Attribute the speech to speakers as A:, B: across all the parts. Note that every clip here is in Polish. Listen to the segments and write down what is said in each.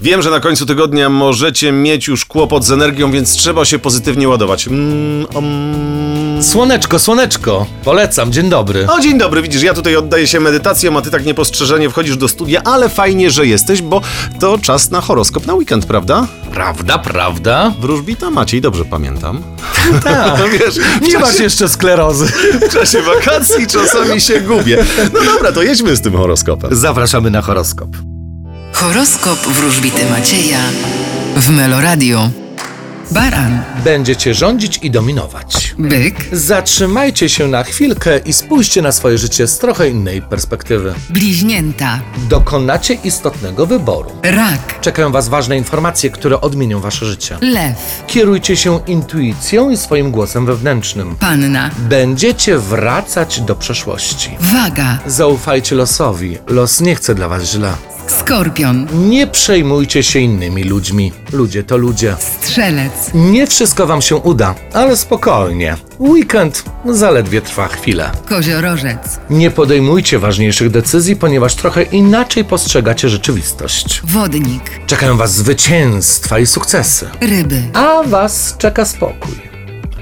A: Wiem, że na końcu tygodnia możecie mieć już kłopot z energią, więc trzeba się pozytywnie ładować. Mm, om.
B: Słoneczko, słoneczko. Polecam, dzień dobry.
A: O, dzień dobry, widzisz, ja tutaj oddaję się medytacjom, a ty tak niepostrzeżenie wchodzisz do studia, ale fajnie, że jesteś, bo to czas na horoskop na weekend, prawda?
B: Prawda, prawda?
A: Wróżbita Maciej, dobrze pamiętam.
B: Tak.
A: No wiesz, w
B: Nie masz
A: czasie,
B: jeszcze sklerozy.
A: w czasie wakacji czasami się gubię. No dobra, to jedźmy z tym horoskopem.
B: Zapraszamy na horoskop.
C: Horoskop wróżbity Macieja w Meloradio. Baran,
B: Będziecie rządzić i dominować.
C: byk,
B: Zatrzymajcie się na chwilkę i spójrzcie na swoje życie z trochę innej perspektywy.
C: bliźnięta,
B: Dokonacie istotnego wyboru.
C: rak,
B: Czekają Was ważne informacje, które odmienią Wasze życie.
C: lew,
B: Kierujcie się intuicją i swoim głosem wewnętrznym.
C: panna,
B: Będziecie wracać do przeszłości.
C: waga,
B: Zaufajcie losowi. Los nie chce dla Was źle.
C: skorpion,
B: Nie przejmujcie się innymi ludźmi. Ludzie to ludzie.
C: strzelec,
B: Nie wszystko Wam się uda, ale spokojnie. Weekend zaledwie trwa chwilę.
C: koziorożec,
B: Nie podejmujcie ważniejszych decyzji, ponieważ trochę inaczej postrzegacie rzeczywistość.
C: wodnik,
B: Czekają Was zwycięstwa i sukcesy.
C: ryby.
B: A Was czeka spokój.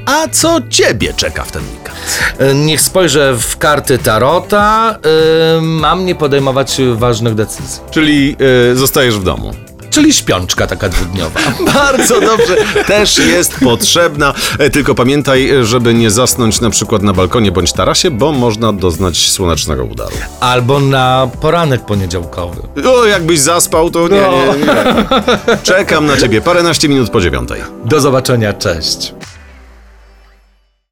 A: A co ciebie czeka w ten weekend?
B: E, Niech spojrzę w karty Tarota. e, mam nie podejmować ważnych decyzji.
A: Czyli y, zostajesz w domu.
B: Czyli śpiączka taka dwudniowa.
A: Bardzo dobrze, też jest potrzebna. E, Tylko pamiętaj, e, żeby nie zasnąć na przykład na balkonie bądź tarasie, bo można doznać słonecznego udaru.
B: Albo na poranek poniedziałkowy.
A: O, jakbyś zaspał, to nie, nie, nie. Czekam na ciebie paręnaście minut po dziewiątej.
B: Do zobaczenia, cześć.